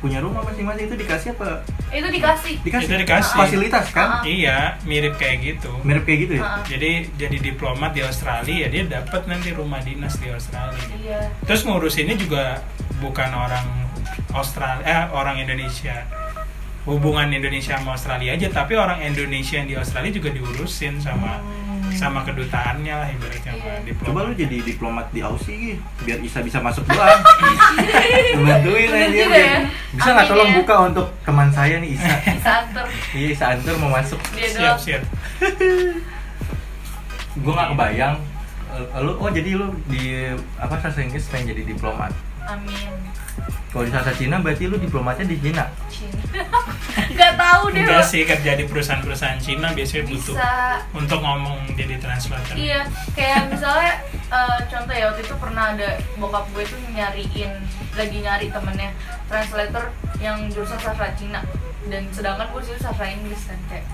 S1: punya rumah masing-masing itu dikasih apa
S3: Itu dikasih.
S1: dikasih,
S2: Itu dikasih.
S1: fasilitas kan
S3: Ah.
S2: Iya, mirip kayak gitu.
S1: mirip kayak gitu ya
S3: Ah.
S2: Jadi jadi diplomat di Australia, dia dapat nanti rumah dinas di Australia.
S3: Iya.
S2: Terus ngurusinnya juga bukan orang Australia, eh, orang Indonesia. Hubungan Indonesia sama Australia aja, tapi orang Indonesia yang di Australia juga diurusin sama sama kedutaannya lah ibaratnya sama
S3: Hmm. Iya.
S2: diplomat.
S1: coba lu jadi diplomat di Aussie gitu, biar Isa bisa masuk doang bantuin aja
S3: Bener juga
S1: biar-
S3: ya.
S1: bisa nggak
S3: Amin
S1: tolong
S3: ya.
S1: buka untuk teman saya nih Isa
S3: Bisa antar
S1: iya Isa Antur mau masuk
S3: dia
S2: siap
S3: doang.
S2: siap.
S1: gue nggak kebayang Eh, lu oh jadi lu di apa sastra Inggris pengen jadi diplomat
S3: Amin.
S1: kalau di sastra Cina berarti lu diplomatnya di Cina
S3: Cina. Gak tahu deh.
S2: Enggak sih kerja di perusahaan-perusahaan Cina biasanya butuh
S3: Bisa.
S2: untuk ngomong jadi translator.
S3: Iya, kayak misalnya eh, contoh ya waktu itu pernah ada bokap gue tuh nyariin lagi nyari temennya translator yang jurusan sastra Cina dan sedangkan gue sih sastra Inggris kan kayak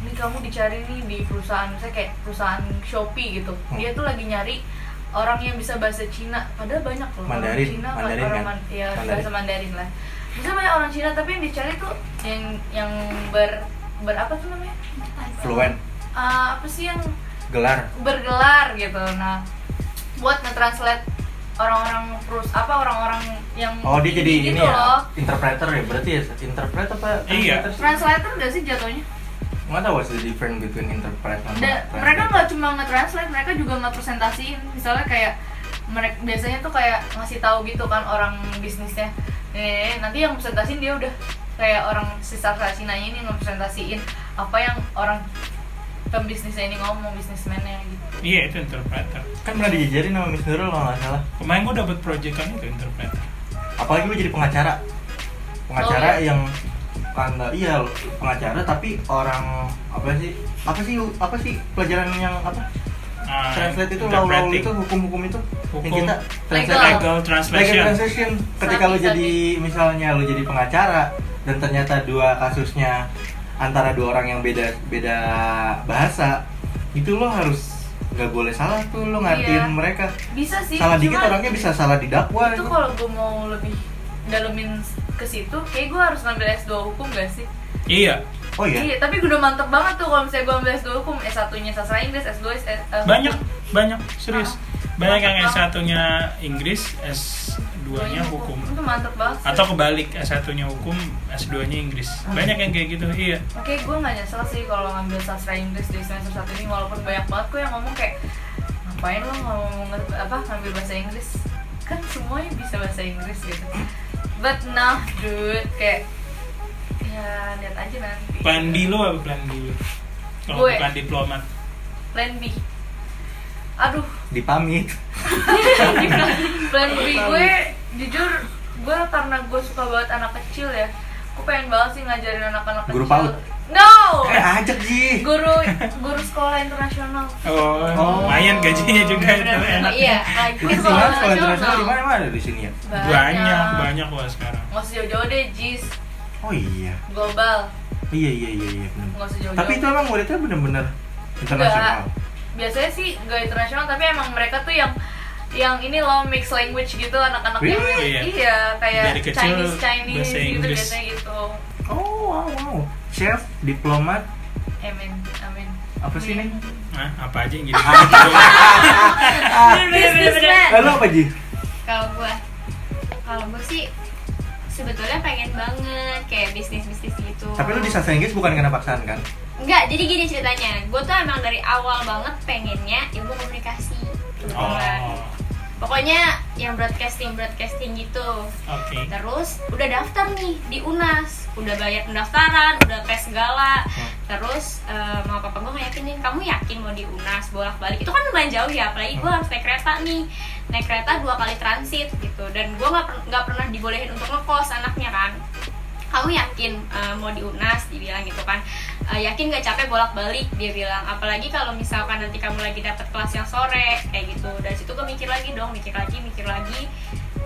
S3: ini kamu dicari nih di perusahaan saya kayak perusahaan Shopee gitu
S1: Hmm.
S3: dia tuh lagi nyari orang yang bisa bahasa Cina padahal banyak loh orang
S1: Mandarin,
S3: Cina
S1: Mandarin
S3: orang
S1: kan?
S3: Man- ya
S1: Mandarin.
S3: bahasa Mandarin lah bisa banyak orang Cina tapi yang dicari tuh yang yang ber berapa tuh namanya
S1: fluent
S3: Eh, apa sih yang
S1: gelar
S3: bergelar gitu nah buat nge-translate orang-orang terus apa orang-orang yang
S1: oh dia jadi
S3: gitu
S1: ini ya
S3: loh
S1: interpreter ya berarti ya interpreter apa
S2: Iya.
S1: translator sih?
S3: translator gak sih jatuhnya
S1: nggak tahu what's the difference between interpreter sama
S3: Da-
S1: translator.
S3: mereka nggak cuma nge-translate mereka juga nge-presentasiin misalnya kayak mereka biasanya tuh kayak ngasih tahu gitu kan orang bisnisnya eh nanti yang presentasiin dia udah kayak orang si sastra Cina ini ngepresentasiin apa yang orang pembisnisnya ini ngomong bisnismennya gitu
S2: Iya itu interpreter.
S1: kan pernah diajarin sama Miss Nurul kalau nggak salah
S2: Kemarin gue dapat proyekan itu interpreter.
S1: apalagi lu jadi pengacara pengacara
S3: Oh, iya.
S1: yang kan iya pengacara tapi orang apa sih apa sih apa sih pelajaran yang apa
S2: Ah,
S1: translate itu law law
S2: interpreting.
S1: itu hukum-hukum itu yang
S2: Hukum.
S1: kita
S3: Legal.
S1: translate
S2: legal
S1: legal
S2: translation.
S1: translation ketika lo
S3: Sapi,
S1: jadi misalnya lo jadi pengacara dan ternyata dua kasusnya antara dua orang yang beda beda bahasa itu lo harus nggak boleh salah tuh lo ngertiin
S3: Iya.
S1: mereka
S3: bisa sih
S1: salah dikit
S3: cuma-
S1: orangnya bisa salah didakwa
S3: itu
S1: itu.
S3: kalau gue mau lebih dalemin ke situ kayak gue harus ngambil S2 hukum gak sih?
S2: Iya.
S1: oh iya
S3: Iya, tapi gue udah mantep banget tuh kalau misalnya gue ambil S2 hukum S1 nya sastra Inggris, S2 S, eh, hukum.
S2: Banyak banyak serius.
S5: Ah.
S2: Banyak yang
S3: Mantap.
S2: S1-nya Inggris, S2-nya hukum.
S3: Itu mantep banget sih.
S2: Atau kebalik, S1-nya hukum, S2-nya Inggris.
S5: Ah.
S2: Banyak yang kayak gitu. Iya.
S3: Oke, gue gak nyesel sih kalau ngambil sastra Inggris di semester 1 ini Walaupun banyak banget gue yang ngomong kayak Ngapain lo ngomong apa, ngambil bahasa Inggris? Kan semuanya bisa bahasa Inggris gitu But now, dude, kayak Ya, lihat aja nanti
S2: Plan B lo apa plan B lo? Kalau
S3: Gue.
S2: bukan diplomat.
S3: Plan B Aduh,
S1: dipamit
S3: plan B gue jujur gue karena gue suka banget anak kecil ya gue pengen banget sih ngajarin anak-anak
S1: Guru
S3: kecil
S1: PAUD?
S3: no
S1: eh ajak sih
S3: guru guru sekolah internasional
S2: Oh,
S1: Oh.
S2: lumayan gajinya juga itu enak.
S3: iya
S1: itu
S3: guru
S1: sih
S3: sekolah
S1: mas kalau internasional di
S3: internasional
S1: mana mana di sini ya
S2: Banyak,
S5: Iya.
S2: banyak loh sekarang.
S3: nggak usah jauh-jauh deh jis
S1: oh iya
S3: global
S1: iya iya iya iya bener.
S3: nggak usah jauh-jauh
S1: tapi itu emang muridnya bener-bener internasional
S3: biasanya sih gak internasional tapi emang mereka tuh yang yang ini loh mixed language gitu anak-anak yang
S2: Really? Iya.
S3: iya kayak
S2: Dari kecil
S3: Chinese Chinese
S2: bahasa
S3: gitu
S2: Inggris.
S3: biasanya gitu
S1: oh wow wow chef diplomat
S3: amin amin
S1: apa sih ini
S2: Hah, apa aja yang jadi diplomat?
S5: Businessman.
S1: Ah, Lalu apa Ji?
S5: Kalau gua, kalau gua sih sebetulnya pengen banget kayak bisnis bisnis gitu.
S1: Tapi lu di sastra Inggris bukan karena paksaan kan?
S5: Enggak, jadi gini ceritanya. Gue tuh emang dari awal banget pengennya ilmu komunikasi.
S2: Oh,
S5: Iya. kebetulan. Pokoknya yang broadcasting broadcasting gitu.
S2: oke.
S5: Terus udah daftar nih di UNAS, udah bayar pendaftaran, udah tes segala. Terus eh, mau papa gue ngeyakinin, kamu yakin mau di UNAS bolak-balik? Itu kan lumayan jauh ya, apalagi gue harus naik kereta nih, naik kereta dua kali transit gitu. Dan gue nggak per- nggak pernah dibolehin untuk ngekos anaknya kan. Kamu yakin eh, mau di UNAS? Dibilang gitu kan. "Eh, yakin nggak capek bolak-balik? Dia bilang. Apalagi kalau misalkan nanti kamu lagi dapat kelas yang sore kayak gitu. Dari situ gue mikir lagi dong, mikir ya lagi, mikir lagi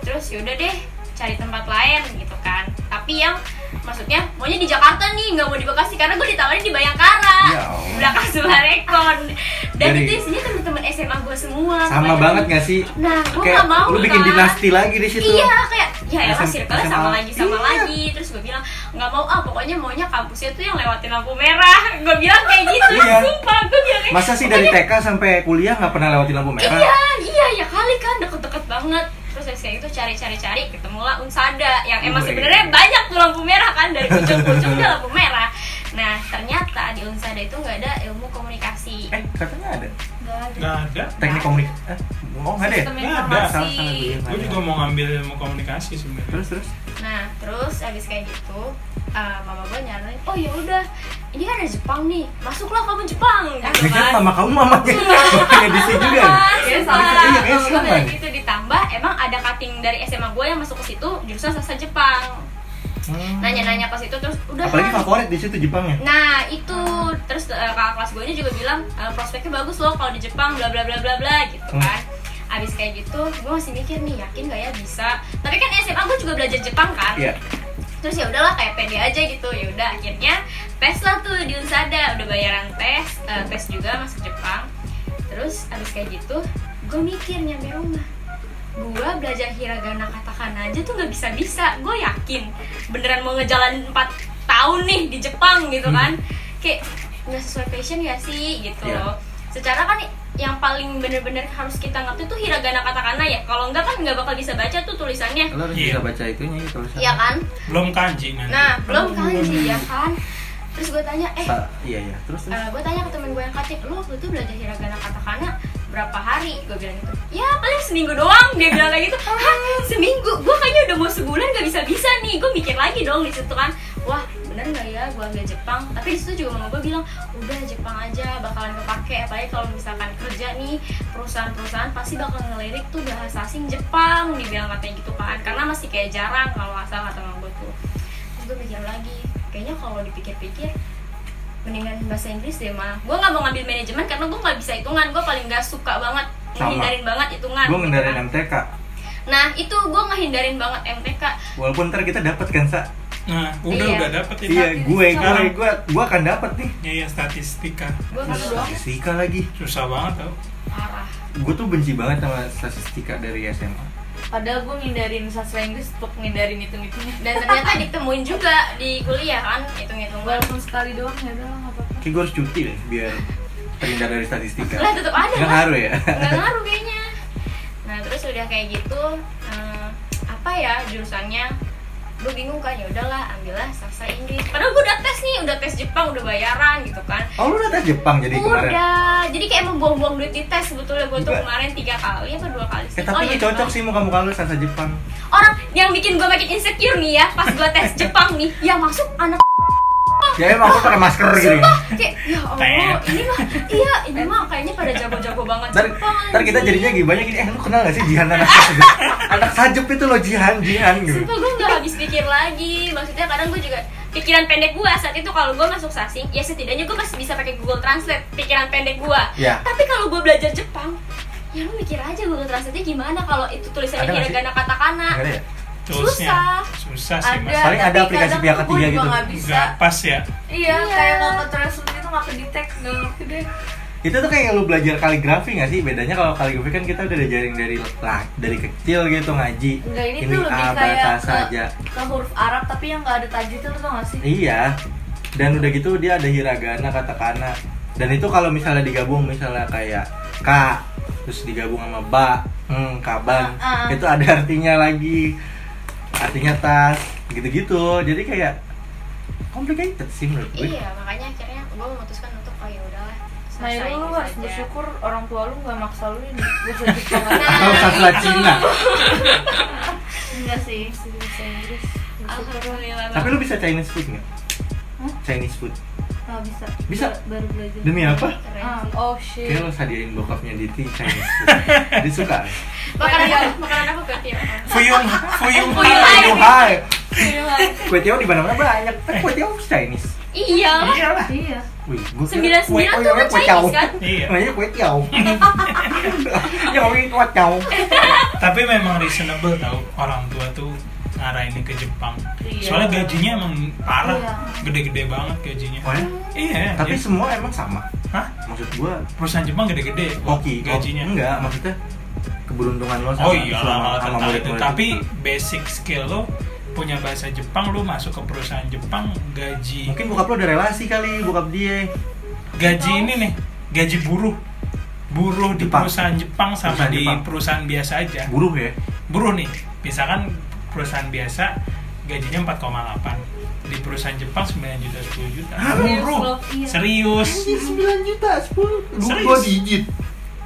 S5: terus yaudah deh cari tempat lain gitu kan tapi yang maksudnya maunya di Jakarta nih nggak mau di Bekasi karena gue ditawarin di Bayangkara
S1: Ya Allah.
S5: belakang Sumarekon dan
S1: Jadi-
S5: itu isinya teman-teman SMA gue semua
S1: sama
S5: kebanyakan.
S1: banget gak sih
S5: nah gue
S1: kayak
S5: nggak mau
S1: lu bikin
S5: kan.
S1: dinasti lagi di situ
S5: Iya kayak ya elah
S1: SM-
S5: circle sama
S1: SMA.
S5: lagi sama
S1: Iya.
S5: lagi terus gue bilang nggak mau ah pokoknya maunya kampusnya tuh yang lewatin lampu merah gue bilang kayak gitu
S1: Iya.
S5: sumpah gue bilang kayak,
S1: masa sih dari TK sampai kuliah nggak pernah lewatin lampu merah
S5: iya iya ya kali kan deket-deket banget terus dari kayak itu cari-cari-cari ketemulah unsada yang emang
S1: Wih.
S5: sebenarnya banyak tuh lampu merah kan dari ujung-ujung udah lampu merah nah ternyata di unsada itu nggak ada ilmu komunikasi
S1: eh katanya ada
S4: Nggak ada.
S2: nggak ada
S1: teknik komunikasi eh oh nggak ada ya
S4: Sistem
S2: Nggak ada.
S1: Salah,
S4: informasi.
S1: salah gue yang
S2: gue
S1: ada.
S2: juga mau ngambil ilmu komunikasi sebenarnya
S1: terus terus
S5: Nah, terus abis kayak gitu, eh, mama gue nyaranin, oh ya udah, ini kan ada Jepang nih, masuklah kamu Jepang. Gitu
S1: Ya kan
S5: kan.
S1: mama kamu mamanya Makanya di sini juga ya?
S5: Iya,
S1: Iya, kayaknya
S5: sama.
S1: sama.
S5: Udah gitu ditambah, emang ada cutting dari SMA gue yang masuk ke situ jurusan sastra Jepang.
S1: Hmm.
S5: Nanya-nanya ke situ terus udah.
S1: Apalagi
S5: Han."
S1: favorit di situ Jepang ya?
S5: Nah itu terus eh, kakak kelas gue juga bilang eh, prospeknya bagus loh kalau di Jepang bla bla bla bla bla gitu
S1: Hmm.
S5: kan. Abis kayak gitu gue masih mikir nih yakin gak ya bisa. Tapi kan SMA gue juga belajar Jepang kan.
S1: Iya.
S5: Terus ya udahlah kayak pede aja gitu ya udah akhirnya tes lah tuh di Unsada udah bayaran tes eh, tes juga masuk Jepang. Terus abis kayak gitu gue mikir nyampe rumah gue belajar hiragana katakana aja tuh nggak bisa bisa gue yakin beneran mau ngejalan 4 tahun nih di Jepang gitu kan kayak nggak sesuai passion ya sih gitu
S1: Iya.
S5: loh secara kan yang paling bener-bener harus kita ngerti tuh hiragana katakana ya kalau nggak kan nggak bakal bisa baca tuh tulisannya
S1: Lo harus
S2: Iya.
S1: bisa baca itunya ya tulisannya.
S5: Iya kan
S2: belum kanji nanti
S5: nah belum kanji ya kan terus gue tanya eh
S1: Sa- iya iya. Terus terus.
S5: gue tanya ke temen gue yang katik, lu waktu itu belajar hiragana katakana berapa hari? Gue bilang gitu, ya paling seminggu doang Dia bilang kayak gitu, hah seminggu? Gue kayaknya udah mau sebulan gak bisa-bisa nih Gue mikir lagi dong di situ kan Wah bener gak ya gue ambil Jepang Tapi disitu juga mama gue bilang, udah Jepang aja bakalan kepake Apalagi kalau misalkan kerja nih perusahaan-perusahaan pasti bakal ngelirik tuh bahasa asing Jepang Dibilang katanya gitu kan, karena masih kayak jarang kalau asal kata mama gue tuh Terus gue pikir lagi, kayaknya kalau dipikir-pikir mendingan bahasa Inggris deh mah gue nggak mau ngambil manajemen karena gue nggak bisa hitungan gue paling nggak suka banget
S1: Sama.
S5: ngehindarin banget hitungan
S1: Gue ngendarin
S5: gitu kan.
S1: MTK.
S5: nah itu gue ngehindarin banget MTK
S1: Walaupun ntar kita dapat kan sa.
S2: nah udah
S5: Iya.
S2: udah dapet itu
S1: Iya, gue gue
S2: Sama.
S1: gue gue akan dapat nih.
S2: Iya, iya, statistika
S5: gue kata doang
S1: Statistika lagi.
S2: susah banget tau
S5: parah
S1: Gue tuh benci banget sama statistika dari SMA.
S4: Padahal gue ngindarin sastra Inggris untuk ngindarin hitung-hitungnya
S5: dan ternyata ditemuin juga di kuliah kan hitung hitungan
S4: Walaupun sekali doang ya udah lah nggak apa-apa
S1: Kayak gue harus cuti deh biar terhindar dari statistika.
S5: lah tetap ada kan?
S1: Nggak
S5: lah
S1: ngaruh ya?
S5: nggak ngaruh kayaknya nah terus udah kayak gitu eh, apa ya jurusannya gue bingung kan ya udahlah ambillah sastra Inggris padahal gue udah tes nih udah tes Jepang udah bayaran gitu kan
S1: Oh lu udah tes Jepang jadi kemarin.
S5: Udah, Eh, jadi kayak emang buang-buang duit di tes sebetulnya gue tuh
S1: Juga.
S5: kemarin tiga kali apa dua kali sih.
S1: Eh tapi
S5: iya,
S1: lu cocok
S5: dua.
S1: sih muka muka lu sasa Jepang.
S5: Orang yang bikin gue makin insecure nih ya pas gue tes Jepang nih, yang masuk anak
S1: Ya emang aku pakai masker gini.
S5: Oh. sumpah kayak ya Allah
S2: Tet.
S5: ini mah iya ini mah kayaknya pada jago-jago banget
S1: Ntar,
S5: Jepang.
S1: ntar kita
S5: anjing.
S1: jadinya gimana gini, eh lu kenal gak sih Jihan anak sajep? anak sajep itu loh Jihan, Jihan gitu
S5: Sumpah gue gak habis pikir lagi Maksudnya kadang gue juga Pikiran pendek gue saat itu kalau gue masuk sasing Ya setidaknya gue masih bisa pakai Google Translate Pikiran pendek gue
S1: Ya.
S5: Tapi kalau gue belajar Jepang Ya lu mikir aja Google Translate-nya gimana Kalau itu tulisannya
S1: Ada nggak sih?
S5: hiragana katakana
S1: Gak ada ya?
S2: toolsnya susah sih mas
S1: Paling ada aplikasi
S4: kadang
S1: pihak ketiga
S4: tuh gua juga
S1: gitu.
S4: nggak bisa
S2: nggak pas ya
S4: Iya,
S5: Iya.
S4: kayak nggak ke translate itu nggak ke detect nggak ngerti deh
S1: Itu tuh kayak lu belajar kaligrafi gak sih? Bedanya kalau kaligrafi kan kita udah diajarin dari lah, dari kecil gitu ngaji
S4: Enggak ini, tuh lebih
S1: A,
S4: kayak
S1: batas
S4: ke,
S1: aja
S4: ke huruf Arab tapi yang nggak ada tajwidnya tuh tau nggak sih?
S1: Iya Dan udah gitu dia ada hiragana, katakana Dan itu kalau misalnya digabung misalnya kayak K Terus digabung sama ba, hmm, kaban
S4: Ah, ah.
S1: Itu ada artinya lagi Artinya tas, gitu-gitu Jadi kayak complicated sih menurut gue
S5: Iya makanya akhirnya gue memutuskan untuk Oh ya udahlah gitu
S4: Nah,
S5: sasing
S4: lu
S5: aja.
S4: harus bersyukur orang tua lu nggak maksa lu ini bahasa Jepang
S1: Atau sastra Cina
S4: Nah, Enggak sih, bahasa Inggris
S5: Alhamdulillah
S1: Tapi lu bisa Chinese food nggak?
S4: Hah?
S1: Chinese food
S4: Nggak Ah, bisa
S1: Bisa?
S4: Baru belajar
S1: Demi apa?
S5: Keren
S4: Ah,
S5: sih.
S4: Oh shit
S1: Kayak lo sadiain bokapnya di tea Chinese food Dia suka
S5: Makanan apa? Makanan apa berarti ya?
S2: fuyung fuyung
S5: Fuyung.
S1: Aduh hai
S4: Gila.
S1: Kue tiaw di mana-mana banyak Tapi kue tiaw Chinese
S5: Iya.
S2: Iya lah.
S4: iya
S1: Wih, gua oh,
S5: Sembilan sembilan tuh kan Chinese kan?
S2: Iya.
S1: Namanya kue tiao. Ya ngomongin kue tiao.
S2: Tapi memang reasonable tau orang tua tuh ngarahin ke Jepang.
S5: Iya.
S2: Soalnya gajinya emang parah,
S4: Iya.
S2: gede-gede banget gajinya.
S1: Oh, ya?
S2: Iya.
S1: Tapi
S2: jadi-
S1: semua emang sama.
S2: Hah?
S1: Maksud gua
S2: Perusahaan Jepang gede-gede. kok
S1: Oke,
S2: Oh, gajinya.
S1: enggak maksudnya keberuntungan lo sama
S2: Oh iya
S1: sama-
S2: lah
S1: sama gitu.
S2: tentang itu.
S1: murid-murid
S2: Tapi basic skill lo punya bahasa Jepang lo masuk ke perusahaan Jepang gaji
S1: mungkin bokap lo ada relasi kali bokap dia
S2: gaji ini nih gaji buruh buruh di
S1: Jepang.
S2: perusahaan Jepang sama
S1: Perusahaan
S2: di
S1: Jepang.
S2: perusahaan biasa aja
S1: buruh ya
S2: buruh nih misalkan perusahaan biasa gajinya 4,8 di perusahaan Jepang 9 juta 10 juta
S1: Hah?
S2: buruh
S5: Iya.
S2: serius
S1: 9 juta 10
S2: Serius?
S1: dua digit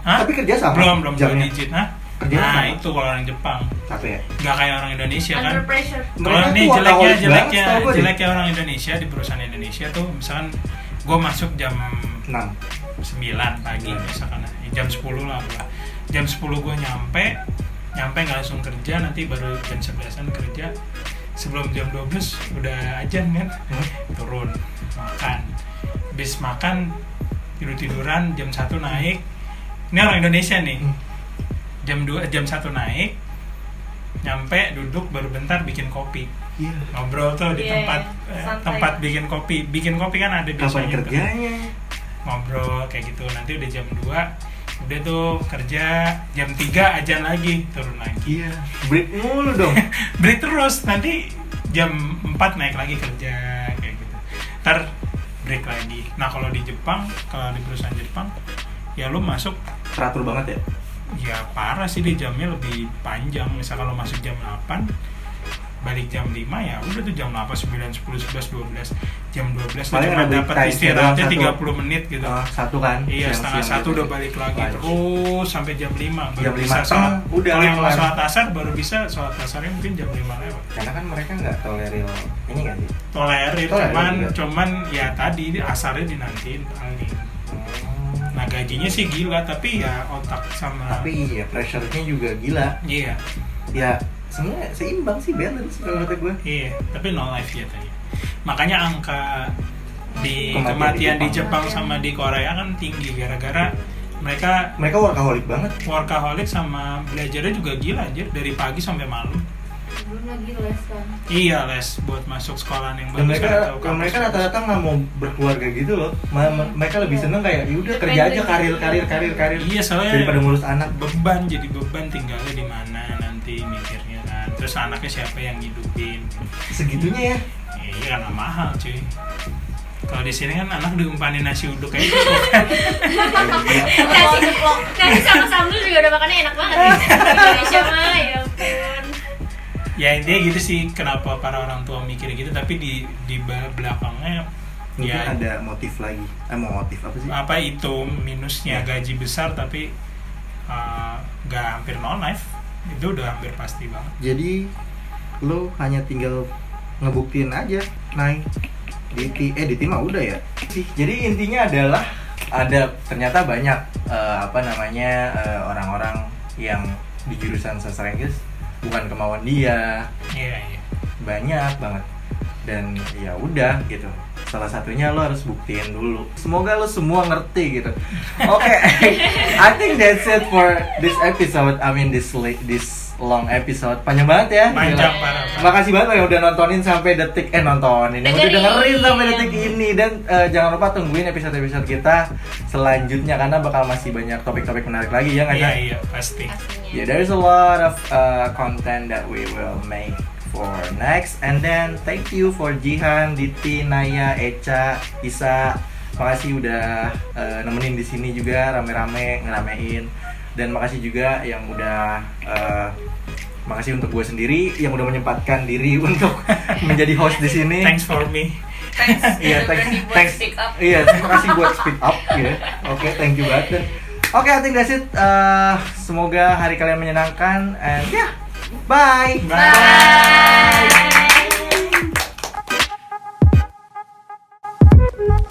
S2: Hah?
S1: Tapi kerja sama
S2: belum belum dua
S1: jamnya.
S2: digit Hah?
S1: Kerja
S2: nah
S1: sama.
S2: itu kalau orang Jepang
S1: apa ya
S2: nggak kayak orang Indonesia kan
S3: Under pressure.
S2: Kalau
S1: Mereka
S2: nih
S1: tuh
S2: jeleknya
S1: workaholic
S2: jeleknya
S1: banget, setahu gua deh.
S2: jeleknya orang Indonesia di perusahaan Indonesia tuh misalkan gue masuk jam
S1: 6
S2: 9 pagi misalkan ya, jam 10 lah gua. Jam 10 gue nyampe nyampe nggak langsung kerja nanti baru jam 11an kerja sebelum jam 12 udah ajan kan turun makan bis makan tidur tiduran jam 1 naik ini orang Indonesia nih
S1: Hmm.
S2: jam 2 jam 1 naik nyampe duduk baru bentar bikin kopi
S1: iya
S2: ngobrol tuh di
S3: Iya,
S2: tempat
S3: iya.
S2: eh,
S3: Santai.
S2: tempat bikin kopi bikin kopi kan ada
S1: kapan
S2: biasanya tuh.
S1: kerjanya
S2: ngobrol kayak gitu nanti udah jam 2 udah tuh kerja jam 3 aja lagi turun lagi
S1: iya break mulu dong
S2: break terus nanti jam 4 naik lagi kerja kayak gitu ntar break lagi nah kalau di Jepang kalau di perusahaan Jepang ya lu masuk
S1: teratur banget ya
S2: ya parah sih di jamnya lebih panjang misal kalau masuk jam 8 balik jam 5 ya udah tuh jam 8, 9, 10, 11, 12 jam 12
S1: Paling
S2: tuh cuma
S1: ada break
S2: dapat
S1: time,
S2: istirahatnya
S1: satu.
S2: 30 menit gitu
S1: Eh, satu kan
S2: Iya
S1: siang-siang
S2: setengah satu
S1: gitu.
S2: udah balik lagi
S1: Balik.
S2: terus sampai jam 5 baru
S1: Jam
S2: bisa
S1: 5,
S2: sholat.
S1: teng, udah
S2: Kalau yang
S1: kelar.
S2: sholat asar baru bisa sholat asarnya mungkin jam 5 lewat.
S1: karena kan mereka nggak tolerir ini kan sih Tolerir
S2: Tolerir
S1: iya.
S2: cuman
S1: juga.
S2: cuman ya tadi asarnya dinantiin paling.
S1: Hmm.
S2: Nah gajinya sih gila tapi ya otak sama
S1: tapi iya pressure-nya juga gila
S2: iya
S1: ya sebenarnya seimbang sih balance kalau kata gue
S2: iya tapi no life ya tadi. Makanya angka di
S1: Kematian di
S2: kematian di
S1: Jepang.
S2: Jepang sama di Korea kan tinggi gara-gara mereka
S1: mereka workaholic banget
S2: workaholic sama belajarnya juga gila anjir dari pagi sampai malam.
S4: belum lagi les kan
S2: Iya les buat masuk sekolah yang
S1: dan
S2: bagus
S1: mereka
S2: atau
S1: dan
S2: kampus
S1: mereka
S2: bagus.
S1: rata-rata nggak mau berkeluarga gitu loh Ma- ma- mereka lebih seneng kayak yaudah kerja aja karir karir karir karir
S2: Oh. Iya soalnya
S1: daripada ngurus anak
S2: beban jadi beban tinggalnya di mana nanti mikirnya kan. Terus anaknya siapa yang ngidupin?
S1: segitunya ya
S2: Ya, iya karena mahal cuy. Kalau di sini kan anak diumpanin nasi uduk kayak gitu kan.
S5: Nasi, nasi sama sambal juga udah makannya enak banget nih. Indonesia mah ya ampun.
S2: ya intinya gitu sih kenapa para orang tua mikir gitu tapi di di ba- belakangnya
S1: mungkin
S2: ya
S1: ada motif lagi eh mau motif apa sih
S2: apa itu minusnya
S1: Ya.
S2: gaji besar tapi uh, nggak hampir no life itu udah hampir pasti banget.
S1: jadi lo hanya tinggal ngebuktiin aja naik DT eh DT mah udah ya sih jadi intinya adalah ada ternyata banyak eh, apa namanya eh, orang-orang yang di jurusan sastra Inggris bukan kemauan dia
S2: Iya iya.
S1: banyak banget dan ya udah gitu salah satunya lo harus buktiin dulu semoga lo semua ngerti gitu oke I think that's it for this episode I mean this li- this long episode panjang banget ya Gila.
S2: Panjang parah. parah.
S1: Makasih banget loh yang udah nontonin sampai detik eh nontonin, yang udah
S5: Dengerin.
S1: dengerin sampai detik ini dan eh, jangan lupa tungguin episode-episode kita selanjutnya karena bakal masih banyak topik-topik menarik lagi ya nggak
S2: Iya
S1: Jan?
S2: iya pasti.
S5: Pastinya.
S1: yeah there's a lot of uh, content that we will make for next and then thank you for Jihan, Diti, Naya, Echa, Isa makasih udah uh, nemenin di sini juga rame-rame ngeramein dan makasih juga yang udah uh, makasih untuk gue sendiri yang udah menyempatkan diri untuk menjadi host di sini
S2: Thanks for me.
S3: Thanks.
S1: Iya,
S3: udah
S1: thanks,
S3: berani buat
S1: thanks.
S3: speak up.
S1: Iya, terima kasih buat speak up ya. Oke, thank you banget. Dan- Oke, I think that's it. Eh, semoga hari kalian menyenangkan and yeah, bye.
S5: Bye.